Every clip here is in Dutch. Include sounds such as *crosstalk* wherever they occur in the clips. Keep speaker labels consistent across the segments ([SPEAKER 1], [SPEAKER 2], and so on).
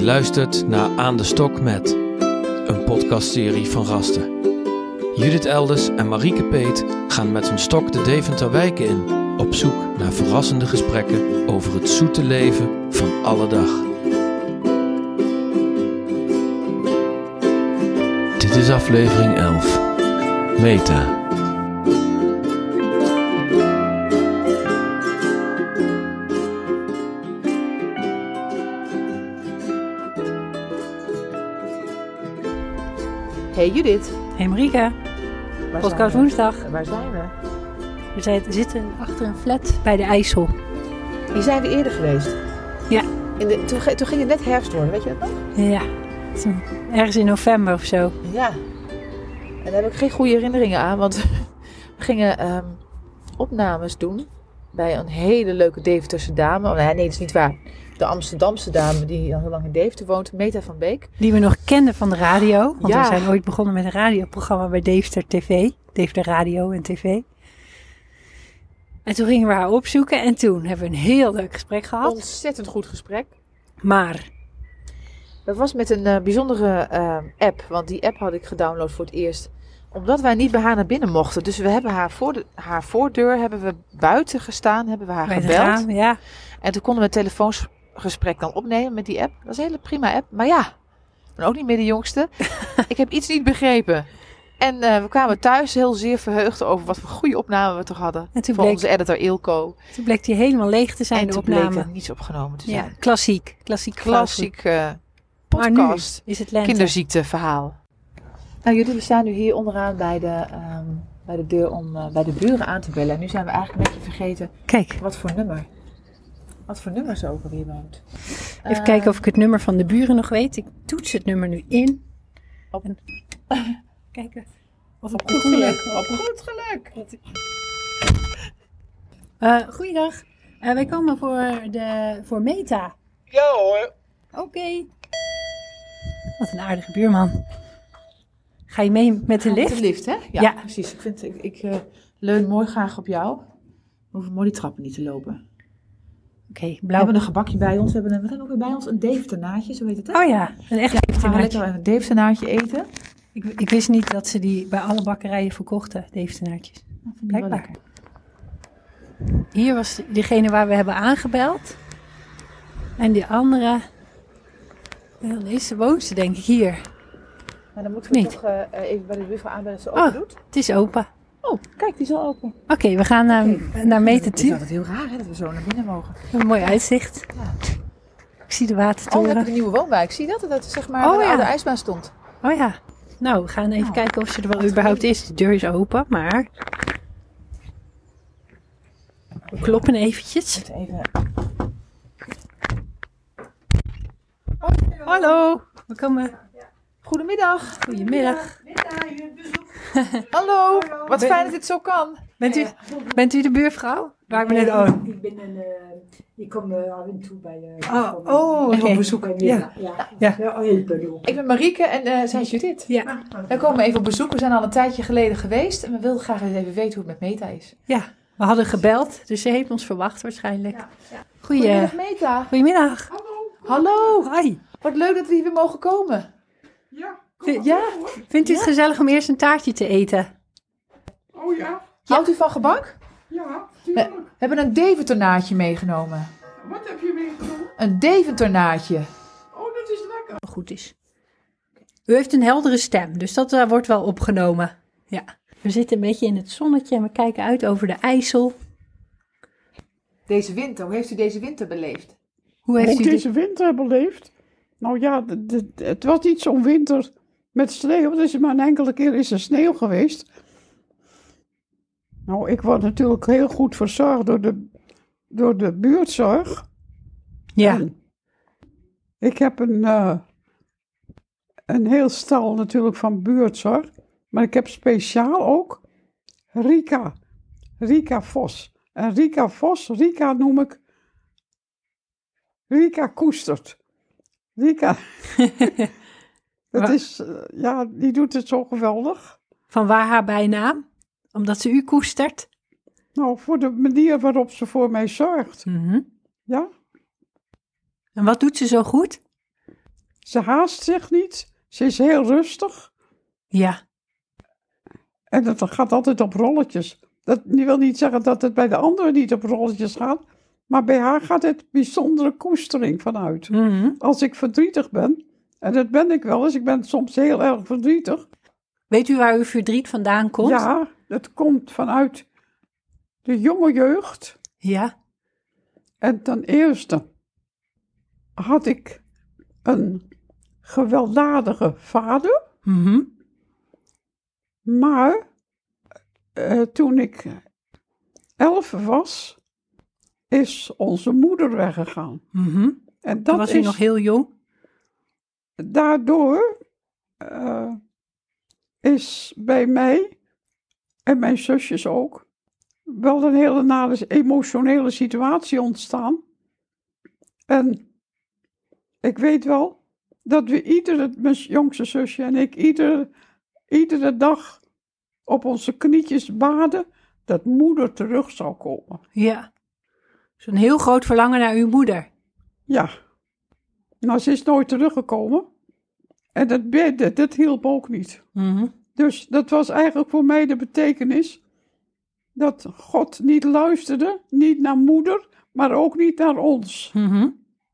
[SPEAKER 1] luistert naar Aan de Stok met, een podcastserie van Rasten. Judith Elders en Marieke Peet gaan met hun stok de Deventer wijken in, op zoek naar verrassende gesprekken over het zoete leven van alle dag. Dit is aflevering 11. Meta.
[SPEAKER 2] Hey Judith,
[SPEAKER 3] Hey Marika,
[SPEAKER 2] waar
[SPEAKER 3] podcast
[SPEAKER 2] zijn we?
[SPEAKER 3] woensdag.
[SPEAKER 2] Waar zijn we?
[SPEAKER 3] We zijn, zitten achter een flat bij de IJssel.
[SPEAKER 2] Hier zijn we eerder geweest.
[SPEAKER 3] Ja.
[SPEAKER 2] In de, toen, ge- toen ging het net herfst worden, weet je dat nog?
[SPEAKER 3] Ja, het is een- ergens in november of zo.
[SPEAKER 2] Ja. En daar heb ik geen goede herinneringen aan, want *laughs* we gingen ehm, opnames doen bij een hele leuke Deventerse dame. Oh, nee, nee, dat is niet waar. De Amsterdamse dame die al heel lang in Deventer woont, Meta van Beek.
[SPEAKER 3] Die we nog kenden van de radio. Want
[SPEAKER 2] Ja.
[SPEAKER 3] we zijn ooit begonnen met een radioprogramma bij Deventer TV. Deventer Radio en TV. En toen gingen we haar opzoeken en toen hebben we een heel leuk gesprek gehad.
[SPEAKER 2] Ontzettend goed gesprek.
[SPEAKER 3] Maar,
[SPEAKER 2] Dat was met een eh, bijzondere eh, app, want die app had ik gedownload voor het eerst. Omdat wij niet bij haar naar binnen mochten. Dus we hebben haar, voor de, haar voordeur hebben we buiten gestaan, hebben we haar
[SPEAKER 3] bij het
[SPEAKER 2] gebeld.
[SPEAKER 3] raam, ja.
[SPEAKER 2] En toen konden we een telefoonsgesprek dan opnemen met die app. Dat is een hele prima app. Maar ja, ik ben ook niet meer de
[SPEAKER 3] *laughs*
[SPEAKER 2] jongste. ik heb iets niet begrepen. En eh, we kwamen thuis heel zeer verheugd over wat voor goede opname we toch hadden.
[SPEAKER 3] En toen
[SPEAKER 2] Voor
[SPEAKER 3] bleek-
[SPEAKER 2] onze editor Ilko.
[SPEAKER 3] Toen bleek die helemaal leeg te zijn,
[SPEAKER 2] en
[SPEAKER 3] de
[SPEAKER 2] toen bleek
[SPEAKER 3] opname.
[SPEAKER 2] er niets opgenomen te zijn.
[SPEAKER 3] Ja, klassiek. Klassiek.
[SPEAKER 2] Klassiek eh,
[SPEAKER 3] Maar nu
[SPEAKER 2] podcast
[SPEAKER 3] is het lente.
[SPEAKER 2] kinderziekteverhaal. Nou jullie, we staan nu hier onderaan bij de, ehm, bij de deur om eh, bij de buren aan te bellen. En nu zijn we eigenlijk een beetje vergeten
[SPEAKER 3] Kijk,
[SPEAKER 2] wat voor nummer. Wat voor nummer ze ook alweer woont.
[SPEAKER 3] even
[SPEAKER 2] Eh,
[SPEAKER 3] kijken of ik het nummer van de buren nog weet. Ik toets het nummer nu in.
[SPEAKER 2] Op- *laughs*
[SPEAKER 3] En- Kijken of
[SPEAKER 2] Eh, Op
[SPEAKER 3] het
[SPEAKER 2] goed geluk. Op goed geluk.
[SPEAKER 3] Eh, goeiedag. Eh, wij komen voor, de, voor Meta.
[SPEAKER 4] Ja hoor.
[SPEAKER 3] Oké. Wat een aardige buurman. Ga je mee met de lift?
[SPEAKER 2] De lift, hè? Ja,
[SPEAKER 3] Ja.
[SPEAKER 2] precies. Ik, vind, ik, ik eh, leun mooi graag op jou. We hoeven mooi die trappen niet te lopen.
[SPEAKER 3] Oké,
[SPEAKER 2] We
[SPEAKER 3] blauw.
[SPEAKER 2] hebben een gebakje bij ons. We hebben, een- we hebben ook weer bij ons een Deventernaadje, zo heet het, hè?
[SPEAKER 3] Oh ja, een echt
[SPEAKER 2] We gaan
[SPEAKER 3] Deventenaartje.
[SPEAKER 2] lekker een Deventernaadje eten. Dat
[SPEAKER 3] Ik, ik wist niet dat ze die bij alle bakkerijen verkochten, Deventenaartjes.
[SPEAKER 2] vind ik wel
[SPEAKER 3] Blijkbaar.
[SPEAKER 2] lekker.
[SPEAKER 3] Hier was diegene waar we hebben aangebeld. En die andere... Dan is ze, woont ze denk ik hier.
[SPEAKER 2] Maar dan moeten we
[SPEAKER 3] Niet.
[SPEAKER 2] toch eh, eh, even bij de buffel aanbellen als ze
[SPEAKER 3] Oh.
[SPEAKER 2] open doet.
[SPEAKER 3] Het is open.
[SPEAKER 2] Ah. Oh, kijk, die is al open.
[SPEAKER 3] Oké, we gaan naar, naar Meta
[SPEAKER 2] Het is
[SPEAKER 3] toe.
[SPEAKER 2] altijd heel raar hè, dat we zo naar binnen mogen.
[SPEAKER 3] Een mooi uitzicht.
[SPEAKER 2] Ja.
[SPEAKER 3] Ik zie de
[SPEAKER 2] Oh, we hebben
[SPEAKER 3] watertoren.
[SPEAKER 2] de nieuwe woonwijk. Zie je dat? Dat is zeg maar
[SPEAKER 3] Oh,
[SPEAKER 2] waar de
[SPEAKER 3] ja.
[SPEAKER 2] oude ijsbaan stond.
[SPEAKER 3] Oh ja. Nou, we gaan even
[SPEAKER 2] Nou,
[SPEAKER 3] kijken of ze er
[SPEAKER 2] wat
[SPEAKER 3] wel überhaupt
[SPEAKER 2] goed.
[SPEAKER 3] is. De deur is open, maar... We kloppen eventjes.
[SPEAKER 2] Moet Even...
[SPEAKER 3] Hallo. We komen.
[SPEAKER 2] Goedemiddag.
[SPEAKER 3] Goedemiddag.
[SPEAKER 2] Hallo. Wat
[SPEAKER 3] Ben-
[SPEAKER 2] fijn dat dit zo kan.
[SPEAKER 3] Bent u, bent u de buurvrouw? Waar we net... Oh,
[SPEAKER 5] Ik ben een, eh, ik kom eh, af en toe bij eh
[SPEAKER 3] Oh, oh,
[SPEAKER 5] bij-
[SPEAKER 3] oké.
[SPEAKER 5] op bezoek bij Mirna. Ja.
[SPEAKER 3] Ja.
[SPEAKER 5] Ja. Ja, heel bedoel.
[SPEAKER 2] Ik ben Marieke en eh, zij is Judith.
[SPEAKER 3] ja.
[SPEAKER 2] Wij komen even op bezoek. We zijn al een tijdje geleden geweest. En we wilden graag eens even weten hoe het met Meta is.
[SPEAKER 3] ja. We hadden gebeld, dus ze heeft ons verwacht waarschijnlijk. Goeie,
[SPEAKER 2] Goedemiddag
[SPEAKER 3] goedemiddag.
[SPEAKER 2] Meta.
[SPEAKER 5] Hallo.
[SPEAKER 2] Hallo.
[SPEAKER 3] Hoi.
[SPEAKER 2] Wat leuk dat we hier weer mogen komen.
[SPEAKER 5] Ja. kom
[SPEAKER 3] Vind-
[SPEAKER 5] maar
[SPEAKER 2] ja?
[SPEAKER 5] door, hoor.
[SPEAKER 3] Vindt u het gezellig om eerst een taartje te eten?
[SPEAKER 5] Oh ja.
[SPEAKER 2] Houdt u van gebak?
[SPEAKER 5] Ja, tuurlijk.
[SPEAKER 2] We hebben een Deventernaadje meegenomen.
[SPEAKER 5] Wat heb je meegenomen?
[SPEAKER 2] Een Deventernaadje.
[SPEAKER 5] Oh, dat is lekker.
[SPEAKER 3] Goed is. U heeft een heldere stem, dus dat eh, wordt wel opgenomen. Ja. We zitten een beetje in het zonnetje en we kijken uit over de IJssel.
[SPEAKER 2] Deze winter, hoe heeft u deze winter beleefd?
[SPEAKER 3] Hoe
[SPEAKER 6] Hoe
[SPEAKER 3] heeft
[SPEAKER 6] ik
[SPEAKER 3] u dit-
[SPEAKER 6] deze winter beleefd? Nou ja, de- de- het was niet zo'n winter met sneeuw. Dus maar een enkele keer is er sneeuw geweest. Nou, ik word natuurlijk heel goed verzorgd door de, door de buurtzorg.
[SPEAKER 3] Ja.
[SPEAKER 6] En Ik heb een, eh, een heel stal natuurlijk van buurtzorg. Maar ik heb speciaal ook Rika. Rika Vos. En Rika Vos, Rika noem ik Rika Koestert. Rika. *laughs* Dat
[SPEAKER 3] Wa-
[SPEAKER 6] is, eh, ja, die doet het zo geweldig.
[SPEAKER 3] Van waar haar bijnaam? Omdat ze u koestert.
[SPEAKER 6] Nou, voor de manier waarop ze voor mij zorgt. Ja,
[SPEAKER 3] En wat doet ze zo goed?
[SPEAKER 6] Ze haast zich niet. Ze is heel rustig.
[SPEAKER 3] Ja.
[SPEAKER 6] En dat gaat altijd op rolletjes. Dat wil niet zeggen dat het bij de anderen niet op rolletjes gaat. Maar bij haar gaat het bijzondere koestering vanuit.
[SPEAKER 3] Mhm.
[SPEAKER 6] Als ik verdrietig ben, en dat ben ik wel eens, ik ben soms heel erg verdrietig.
[SPEAKER 3] Weet u waar uw verdriet vandaan komt?
[SPEAKER 6] Ja, dat komt vanuit de jonge jeugd.
[SPEAKER 3] Ja.
[SPEAKER 6] En ten eerste had ik een gewelddadige vader,
[SPEAKER 3] Mhm.
[SPEAKER 6] maar eh, toen ik elf was, is onze moeder weggegaan.
[SPEAKER 3] Mhm.
[SPEAKER 6] En dat
[SPEAKER 3] Toen was
[SPEAKER 6] is
[SPEAKER 3] u nog heel jong.
[SPEAKER 6] daardoor eh, is bij mij en mijn zusjes ook wel een hele nare emotionele situatie ontstaan. En ik weet wel dat we iedere, mijn jongste zusje en ik, iedere, iedere dag op onze knietjes baden dat moeder terug zou komen.
[SPEAKER 3] Ja. Dus een heel groot verlangen naar uw moeder.
[SPEAKER 6] Ja. Nou, ze is nooit teruggekomen. En dat, be- dat, dat hielp ook niet.
[SPEAKER 3] Mhm.
[SPEAKER 6] Dus dat was eigenlijk voor mij de betekenis dat God niet luisterde, niet naar moeder, maar ook niet naar ons.
[SPEAKER 3] Mhm.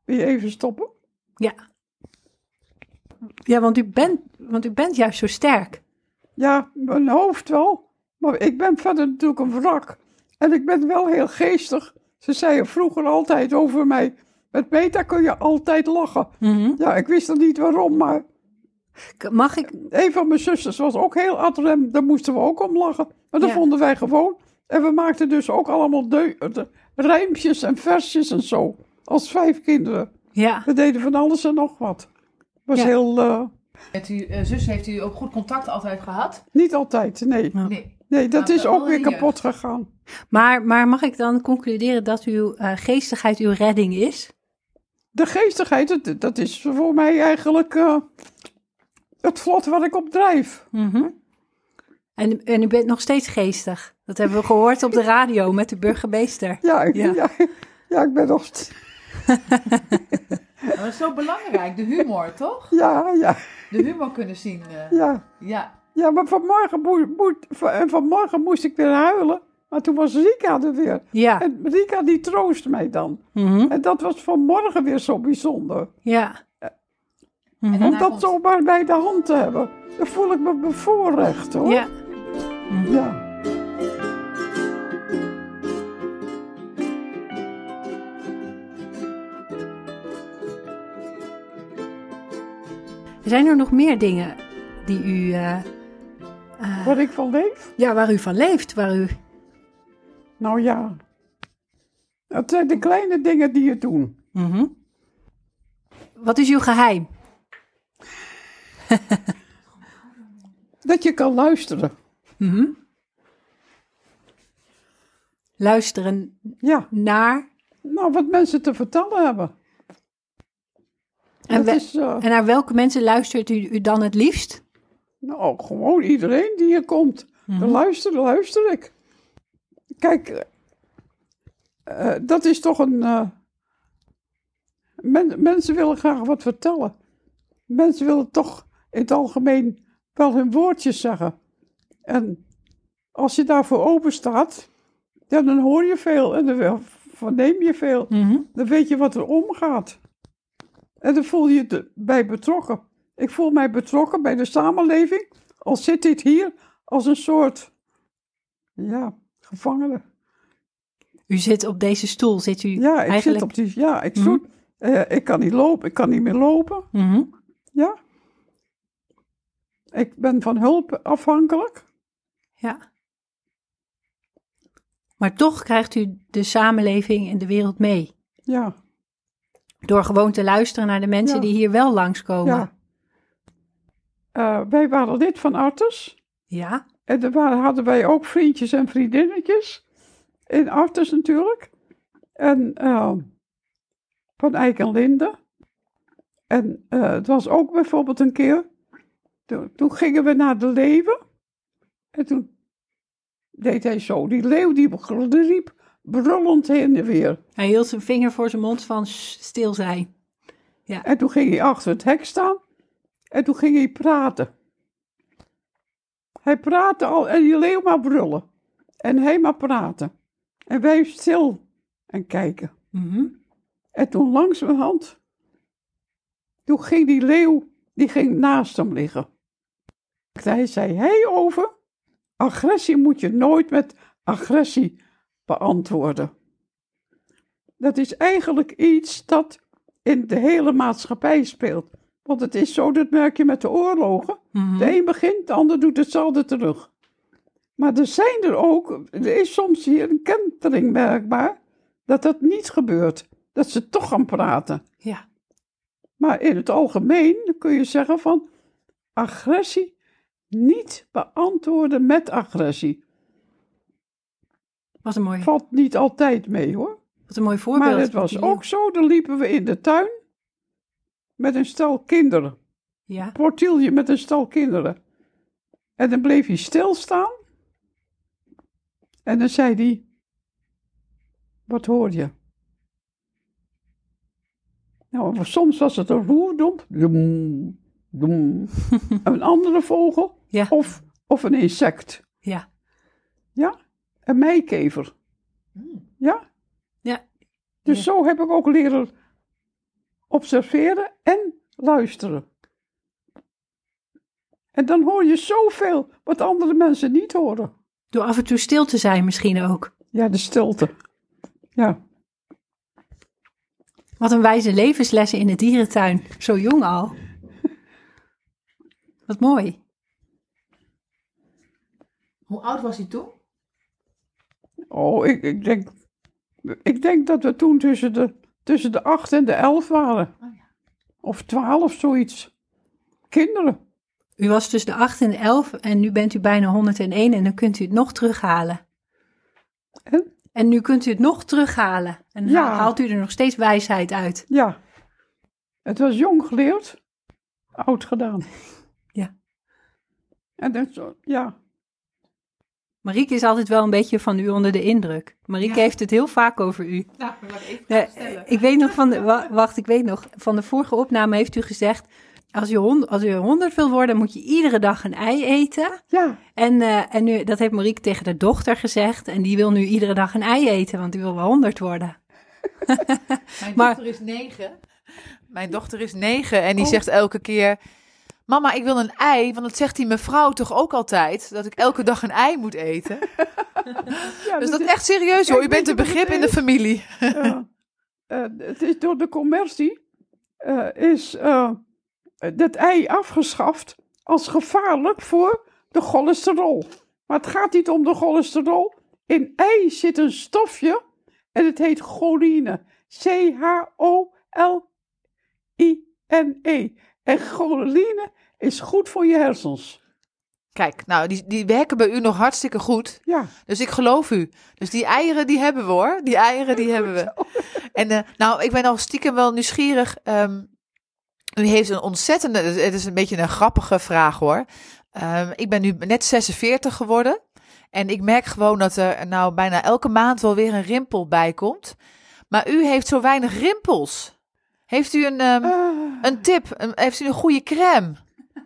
[SPEAKER 6] Wil je even stoppen?
[SPEAKER 3] Ja. Ja, want u, bent, want u bent juist zo sterk.
[SPEAKER 6] Ja, mijn hoofd wel, maar ik ben verder natuurlijk een wrak. En ik ben wel heel geestig. Ze zeiden vroeger altijd over mij, met Beta kun je altijd lachen.
[SPEAKER 3] Mhm.
[SPEAKER 6] Ja, ik wist er niet waarom, maar
[SPEAKER 3] K- Mag ik?
[SPEAKER 6] een van mijn zusters was ook heel adrem. Daar moesten we ook om lachen. Maar dat
[SPEAKER 3] Ja.
[SPEAKER 6] vonden wij gewoon. En we maakten dus ook allemaal deu- de- rijmpjes en versjes en zo. Als vijf kinderen.
[SPEAKER 3] Ja.
[SPEAKER 6] We deden van alles en nog wat. Was
[SPEAKER 3] Ja.
[SPEAKER 6] heel... eh,
[SPEAKER 2] Met uw eh, zus heeft u ook goed contact altijd gehad?
[SPEAKER 6] niet altijd, nee.
[SPEAKER 3] Ja.
[SPEAKER 2] Nee.
[SPEAKER 6] Nee,
[SPEAKER 2] Ja,
[SPEAKER 6] dat
[SPEAKER 3] Nou,
[SPEAKER 6] is
[SPEAKER 2] wel
[SPEAKER 6] ook weer
[SPEAKER 2] hier.
[SPEAKER 6] kapot gegaan.
[SPEAKER 3] Maar, maar mag ik dan concluderen dat uw eh, geestigheid uw redding is?
[SPEAKER 6] De geestigheid, dat, dat is voor mij eigenlijk eh, het vlot wat ik op drijf.
[SPEAKER 3] Mhm. En, en u bent nog steeds geestig. Dat hebben we gehoord op de radio met de burgemeester.
[SPEAKER 6] Ja, ik,
[SPEAKER 3] Ja.
[SPEAKER 6] ja. *laughs* Ja, ik ben nog... st-
[SPEAKER 2] Maar dat is zo belangrijk, de humor, toch?
[SPEAKER 6] Ja, ja,
[SPEAKER 2] De humor kunnen zien. eh,
[SPEAKER 6] ja.
[SPEAKER 2] ja.
[SPEAKER 6] Ja, maar vanmorgen, moe- moet- van- en vanmorgen moest ik weer huilen. Maar toen was Rika er weer.
[SPEAKER 3] Ja.
[SPEAKER 6] En Rika die troost mij dan.
[SPEAKER 3] Mhm.
[SPEAKER 6] En dat was vanmorgen weer zo bijzonder.
[SPEAKER 3] Ja.
[SPEAKER 2] En
[SPEAKER 3] Mhm.
[SPEAKER 6] Om
[SPEAKER 2] daarna
[SPEAKER 6] dat
[SPEAKER 2] komt-
[SPEAKER 6] zomaar bij de hand te hebben. Dan voel ik me bevoorrecht hoor.
[SPEAKER 3] Ja.
[SPEAKER 6] ja.
[SPEAKER 3] Zijn er nog meer dingen die u, eh, eh,
[SPEAKER 6] Waar ik van leef.
[SPEAKER 3] ja, waar u van leeft? Waar u...
[SPEAKER 6] Nou ja. Het zijn de kleine dingen die je doen.
[SPEAKER 3] Mhm. Wat is uw geheim?
[SPEAKER 6] Dat je kan luisteren.
[SPEAKER 3] Mhm. Luisteren
[SPEAKER 6] Ja.
[SPEAKER 3] naar
[SPEAKER 6] Nou, wat mensen te vertellen hebben.
[SPEAKER 3] En
[SPEAKER 6] dat
[SPEAKER 3] we-
[SPEAKER 6] is eh,
[SPEAKER 3] en naar welke mensen luistert u, u dan het liefst?
[SPEAKER 6] Nou, gewoon iedereen die hier komt. Dan luister, luister ik. Kijk, eh, eh, dat is toch een. eh, men- mensen willen graag wat vertellen. Mensen willen toch in het algemeen wel hun woordjes zeggen. En als je daarvoor open staat, ja, dan hoor je veel en dan wel- verneem je veel.
[SPEAKER 3] Mhm.
[SPEAKER 6] Dan weet je wat er omgaat. En dan voel je je bij betrokken. Ik voel mij betrokken bij de samenleving. Al zit dit hier als een soort, ja, gevangene.
[SPEAKER 3] U zit op deze stoel, zit u
[SPEAKER 6] Ja, ik
[SPEAKER 3] eigenlijk...
[SPEAKER 6] zit op die, ja, ik
[SPEAKER 3] Mhm.
[SPEAKER 6] zoet, eh, ik kan niet lopen, ik kan niet meer lopen,
[SPEAKER 3] Mhm.
[SPEAKER 6] ja. Ik ben van hulp afhankelijk.
[SPEAKER 3] Ja. Maar toch krijgt u de samenleving en de wereld mee.
[SPEAKER 6] Ja,
[SPEAKER 3] Door gewoon te luisteren naar de mensen
[SPEAKER 6] Ja.
[SPEAKER 3] die hier wel langskomen.
[SPEAKER 6] ja. Eh, wij waren lid van Artes.
[SPEAKER 3] Ja.
[SPEAKER 6] En er waren, hadden wij ook vriendjes en vriendinnetjes. In Artes natuurlijk. En eh, van Eyck en Linde. En eh, het was ook bijvoorbeeld een keer. Toen, toen gingen we naar de leeuwen. En toen deed hij zo. Die leeuw die riep brullend heen en weer.
[SPEAKER 3] Hij hield zijn vinger voor zijn mond van "Sst, stil zijn. Ja.
[SPEAKER 6] En toen ging hij achter het hek staan. En toen ging hij praten. Hij praatte al en die leeuw maar brullen. En hij maar praten. En wij stil en kijken.
[SPEAKER 3] Mhm.
[SPEAKER 6] En toen langzamerhand, toen ging die leeuw, die ging naast hem liggen. Hij zei, hé hey, over, agressie moet je nooit met agressie beantwoorden. Dat is eigenlijk iets dat in de hele maatschappij speelt. Want het is zo, dat merk je met de oorlogen.
[SPEAKER 3] Mhm.
[SPEAKER 6] De een begint, de ander doet hetzelfde terug. Maar er zijn er ook, er is soms hier een kentering merkbaar, dat dat niet gebeurt. Dat ze toch gaan praten.
[SPEAKER 3] Ja.
[SPEAKER 6] Maar in het algemeen kun je zeggen van agressie niet beantwoorden met agressie.
[SPEAKER 3] Wat een mooi,
[SPEAKER 6] Valt niet altijd mee hoor.
[SPEAKER 3] wat een mooi voorbeeld.
[SPEAKER 6] Maar het was
[SPEAKER 3] Die leeuw.
[SPEAKER 6] ook zo, dan liepen we in de tuin met een stel kinderen.
[SPEAKER 3] Ja.
[SPEAKER 6] portielje met een stal kinderen. En dan bleef hij stilstaan. En dan zei hij: Wat hoor je? Nou, soms was het een roerdomp. Doem,
[SPEAKER 3] *laughs*
[SPEAKER 6] doem. een andere vogel.
[SPEAKER 3] Ja.
[SPEAKER 6] Of, of een insect.
[SPEAKER 3] Ja.
[SPEAKER 6] Ja, een meikever.
[SPEAKER 2] Hmm.
[SPEAKER 6] Ja?
[SPEAKER 3] Ja.
[SPEAKER 6] Dus
[SPEAKER 3] Ja.
[SPEAKER 6] zo heb ik ook leren observeren en luisteren. En dan hoor je zoveel wat andere mensen niet horen.
[SPEAKER 3] Door af en toe stil te zijn misschien ook.
[SPEAKER 6] Ja, de stilte. Ja,
[SPEAKER 3] Wat een wijze levenslessen in de dierentuin. Zo jong al. Wat mooi.
[SPEAKER 2] Hoe oud was hij toen?
[SPEAKER 6] oh, ik, ik, denk, ik denk dat we toen tussen de, tussen de acht en de elf waren.
[SPEAKER 2] Oh ja.
[SPEAKER 6] Of twaalf, zoiets. Kinderen.
[SPEAKER 3] U was tussen de 8 en de 11 en nu bent u bijna 101 en dan kunt u het nog terughalen.
[SPEAKER 6] Huh?
[SPEAKER 3] En nu kunt u het nog terughalen. En
[SPEAKER 6] Ja.
[SPEAKER 3] ha- haalt u er nog steeds wijsheid uit.
[SPEAKER 6] Ja. Het was jong geleerd, oud gedaan.
[SPEAKER 3] Ja.
[SPEAKER 6] En dat, zo- ja,
[SPEAKER 3] Marieke is altijd wel een beetje van u onder de indruk. Marieke heeft het heel vaak over u.
[SPEAKER 5] Nou, dat wil ik even
[SPEAKER 3] Nee,
[SPEAKER 5] stellen.
[SPEAKER 3] ik weet nog
[SPEAKER 2] *laughs*
[SPEAKER 3] van de, wa- wacht, ik weet nog van de vorige opname heeft u gezegd: als je hond, als je 100 wil worden, moet je iedere dag een ei eten.
[SPEAKER 6] ja,
[SPEAKER 3] En, eh, en nu, dat heeft Marieke tegen de dochter gezegd en die wil nu iedere dag een ei eten, want die wil wel 100 worden.
[SPEAKER 2] Mijn
[SPEAKER 3] Maar-
[SPEAKER 2] dochter is negen. Mijn dochter is negen en die zegt elke keer... Mama, ik wil een ei, want dat zegt die mevrouw toch ook altijd... dat ik elke dag een ei moet eten.
[SPEAKER 6] ja
[SPEAKER 2] Dus dat
[SPEAKER 6] is-
[SPEAKER 2] echt serieus hoor, je
[SPEAKER 6] Kijk,
[SPEAKER 2] bent een
[SPEAKER 6] weet je wat
[SPEAKER 2] begrip in
[SPEAKER 6] het
[SPEAKER 2] de
[SPEAKER 6] is?
[SPEAKER 2] familie.
[SPEAKER 6] ja. Eh, het is door de commercie eh, is eh, dat ei afgeschaft als gevaarlijk voor de cholesterol. Maar het gaat niet om de cholesterol. In ei zit een stofje en het heet choline. C-H-O-L-I-N-E. E. En choline is goed voor je hersens.
[SPEAKER 2] Kijk, nou, die, die werken bij u nog hartstikke goed.
[SPEAKER 6] Ja,
[SPEAKER 2] Dus ik geloof u. Dus die eieren, die hebben we hoor. Die eieren, die hebben we. En eh, nou, ik ben al stiekem wel nieuwsgierig. Ehm, u heeft een ontzettende, het is een beetje een grappige vraag hoor. Ehm, ik ben nu net 46 geworden. En ik merk gewoon dat er nou bijna elke maand wel weer een rimpel bij komt. Maar u heeft zo weinig rimpels. Heeft u een, ehm,
[SPEAKER 6] Eh,
[SPEAKER 2] een tip? Een- heeft u een goede crème?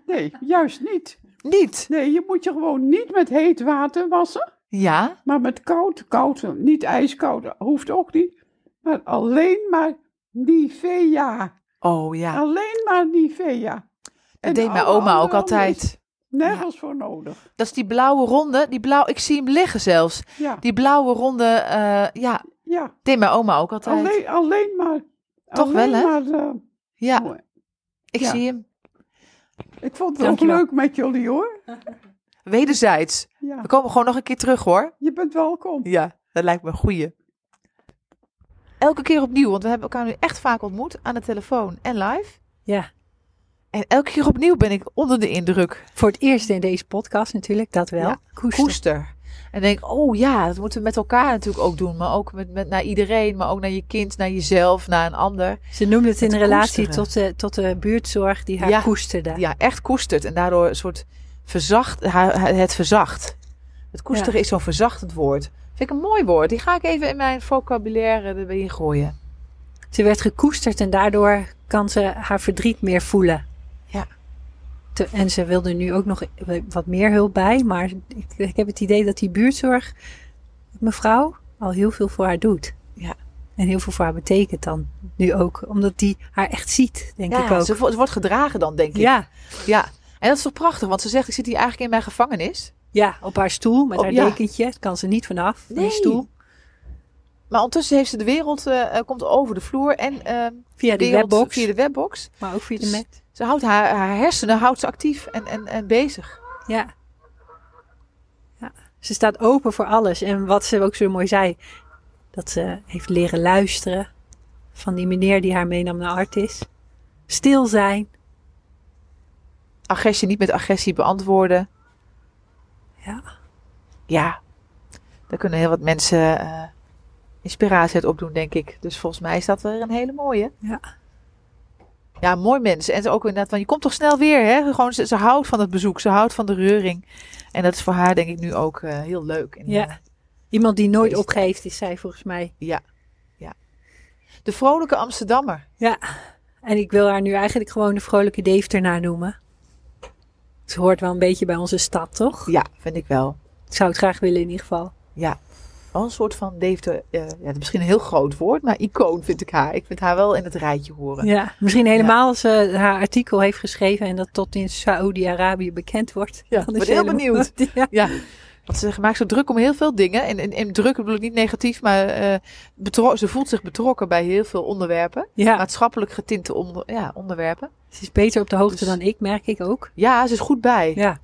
[SPEAKER 6] nee, juist niet.
[SPEAKER 2] Niet?
[SPEAKER 6] Nee, je moet je gewoon niet met heet water wassen.
[SPEAKER 2] Ja?
[SPEAKER 6] Maar met koud, koud, niet ijskoud, hoeft ook niet. Maar alleen maar Nivea.
[SPEAKER 2] Oh ja.
[SPEAKER 6] Alleen maar Nivea.
[SPEAKER 2] Dat deed mijn
[SPEAKER 6] alle
[SPEAKER 2] oma ook
[SPEAKER 6] andere
[SPEAKER 2] altijd.
[SPEAKER 6] is Nergens voor nodig.
[SPEAKER 2] Dat is die blauwe ronde. Die blauw, ik zie hem liggen zelfs.
[SPEAKER 6] Ja,
[SPEAKER 2] Die blauwe ronde, eh, ja,
[SPEAKER 6] ja.
[SPEAKER 2] deed mijn oma ook altijd.
[SPEAKER 6] Alleen, alleen maar.
[SPEAKER 2] Toch
[SPEAKER 6] alleen
[SPEAKER 2] wel, hè?
[SPEAKER 6] Maar, eh,
[SPEAKER 2] Ja, ik
[SPEAKER 6] Ja.
[SPEAKER 2] zie hem.
[SPEAKER 6] ik vond het
[SPEAKER 2] Dankjewel.
[SPEAKER 6] ook leuk met jullie hoor.
[SPEAKER 2] Wederzijds.
[SPEAKER 6] Ja,
[SPEAKER 2] We komen gewoon nog een keer terug hoor.
[SPEAKER 6] je bent welkom.
[SPEAKER 2] Ja, dat lijkt me een goeie. Elke keer opnieuw, want we hebben elkaar nu echt vaak ontmoet aan de telefoon en live.
[SPEAKER 3] Ja,
[SPEAKER 2] En elke keer opnieuw ben ik onder de indruk.
[SPEAKER 3] voor het eerst in deze podcast natuurlijk, dat wel.
[SPEAKER 2] Ja,
[SPEAKER 3] Koester.
[SPEAKER 2] Koester. En denk, oh ja, dat moeten we met elkaar natuurlijk ook doen. Maar ook met, met, naar iedereen, maar ook naar je kind, naar jezelf, naar een ander.
[SPEAKER 3] Ze noemde het in
[SPEAKER 2] Het
[SPEAKER 3] relatie
[SPEAKER 2] koesteren.
[SPEAKER 3] tot de, tot de buurtzorg die haar
[SPEAKER 2] Ja.
[SPEAKER 3] koesterde.
[SPEAKER 2] ja, echt koestert. En daardoor een soort verzacht, ha- ha- het verzacht. Het koesteren is zo'n verzachtend woord. Vind ik een mooi woord. Die ga ik even in mijn vocabulaire erbij gooien.
[SPEAKER 3] Ze werd gekoesterd en daardoor kan ze haar verdriet meer voelen.
[SPEAKER 2] Ja.
[SPEAKER 3] Te- en ze wilde nu ook nog wat meer hulp bij. Maar ik, ik heb het idee dat die buurtzorg, mevrouw, al heel veel voor haar doet.
[SPEAKER 2] Ja.
[SPEAKER 3] En heel veel voor haar betekent dan nu ook. Omdat die haar echt ziet, denk ik
[SPEAKER 2] Ja,
[SPEAKER 3] ook.
[SPEAKER 2] ze, vo- ze wordt gedragen dan, denk ik.
[SPEAKER 3] Ja,
[SPEAKER 2] ja. En dat is toch prachtig, want ze zegt, ik zit hier eigenlijk in mijn gevangenis.
[SPEAKER 3] ja, op haar stoel met
[SPEAKER 2] Op-
[SPEAKER 3] haar
[SPEAKER 2] ja.
[SPEAKER 3] dekentje. Het kan ze niet vanaf, van
[SPEAKER 2] Nee.
[SPEAKER 3] die stoel.
[SPEAKER 2] Maar ondertussen heeft ze de wereld, eh, eh, komt over de vloer en ehm
[SPEAKER 3] Via de
[SPEAKER 2] wereld
[SPEAKER 3] webbox,
[SPEAKER 2] via de webbox.
[SPEAKER 3] maar ook via de
[SPEAKER 2] Dus-
[SPEAKER 3] mat.
[SPEAKER 2] Ze houdt haar, haar hersenen houdt ze actief en, en, en bezig.
[SPEAKER 3] Ja. ja. Ze staat open voor alles. En wat ze ook zo mooi zei, dat ze heeft leren luisteren van die meneer die haar meenam naar Artis. Stil zijn.
[SPEAKER 2] Agressie niet met agressie beantwoorden.
[SPEAKER 3] Ja.
[SPEAKER 2] Ja, daar kunnen heel wat mensen eh, inspiratie uit opdoen, denk ik. Dus volgens mij is dat weer een hele mooie.
[SPEAKER 3] Ja.
[SPEAKER 2] Ja, mooi mensen. En ook inderdaad, want je komt toch snel weer, hè? Gewoon, ze, ze houdt van het bezoek, ze houdt van de reuring. En dat is voor haar, denk ik, nu ook eh, heel leuk. En,
[SPEAKER 3] Ja.
[SPEAKER 2] eh,
[SPEAKER 3] Iemand die nooit
[SPEAKER 2] Deze
[SPEAKER 3] opgeeft, is zij volgens mij.
[SPEAKER 2] de vrolijke Amsterdammer.
[SPEAKER 3] En ik wil haar nu eigenlijk gewoon de vrolijke Deventer noemen. Ze hoort wel een beetje bij onze stad, toch?
[SPEAKER 2] Ja, vind ik wel.
[SPEAKER 3] Ik zou het graag willen in ieder geval.
[SPEAKER 2] Wel een soort van Deventer, eh, ja, dat is misschien een heel groot woord, maar icoon vind ik haar. Ik vind haar wel in het rijtje horen.
[SPEAKER 3] Ja. Misschien helemaal als ze haar artikel heeft geschreven en dat tot in Saoedi-Arabië bekend wordt.
[SPEAKER 2] Ja,
[SPEAKER 3] Dan is
[SPEAKER 2] ben
[SPEAKER 3] ze
[SPEAKER 2] heel
[SPEAKER 3] helemaal- *laughs* Ja.
[SPEAKER 2] Ja, want ze maakt zo druk om heel veel dingen. En, en, en druk bedoel ik niet negatief, maar eh, betro- ze voelt zich betrokken bij heel veel onderwerpen.
[SPEAKER 3] ja,
[SPEAKER 2] Maatschappelijk getinte onder- ja, onderwerpen.
[SPEAKER 3] ze is beter op de hoogte
[SPEAKER 2] Dus-
[SPEAKER 3] dan ik, merk ik ook.
[SPEAKER 2] Ja, ze is goed bij.
[SPEAKER 3] Ja,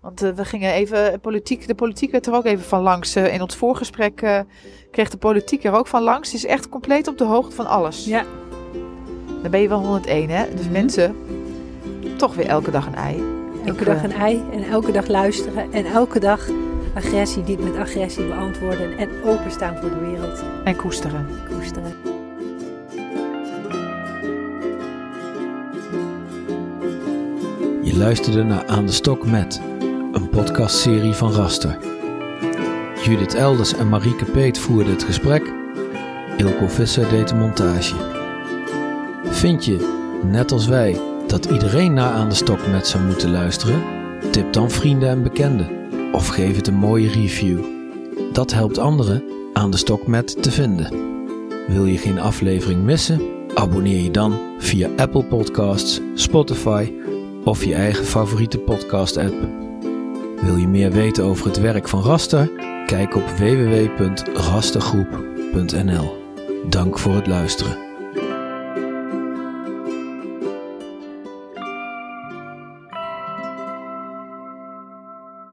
[SPEAKER 2] Want eh, we gingen even, politiek, de politiek werd er ook even van langs. Eh, in ons voorgesprek eh, kreeg de politiek er ook van langs. Ze is echt compleet op de hoogte van alles.
[SPEAKER 3] Ja. Mhm.
[SPEAKER 2] Dan ben je wel 101, hè? Dus mensen, toch weer elke dag een ei.
[SPEAKER 3] elke
[SPEAKER 2] Ik,
[SPEAKER 3] dag
[SPEAKER 2] eh,
[SPEAKER 3] een ei en elke dag luisteren en elke dag agressie niet met agressie beantwoorden en openstaan voor de wereld
[SPEAKER 2] En koesteren.
[SPEAKER 3] koesteren.
[SPEAKER 1] Je luisterde naar Aan de Stok met, een podcastserie van Raster. Judith Elders en Marieke Peet voerden het gesprek. Ilko Visser deed de montage. Vind je, net als wij, dat iedereen naar Aan de Stok met zou moeten luisteren? Tip dan vrienden en bekenden. Of geef het een mooie review. Dat helpt anderen Aan de Stok met te vinden. Wil je geen aflevering missen? Abonneer je dan via Apple Podcasts, Spotify of je eigen favoriete podcast-app. Wil je meer weten over het werk van Raster? Kijk op www.rastergroep.nl. Dank voor het luisteren.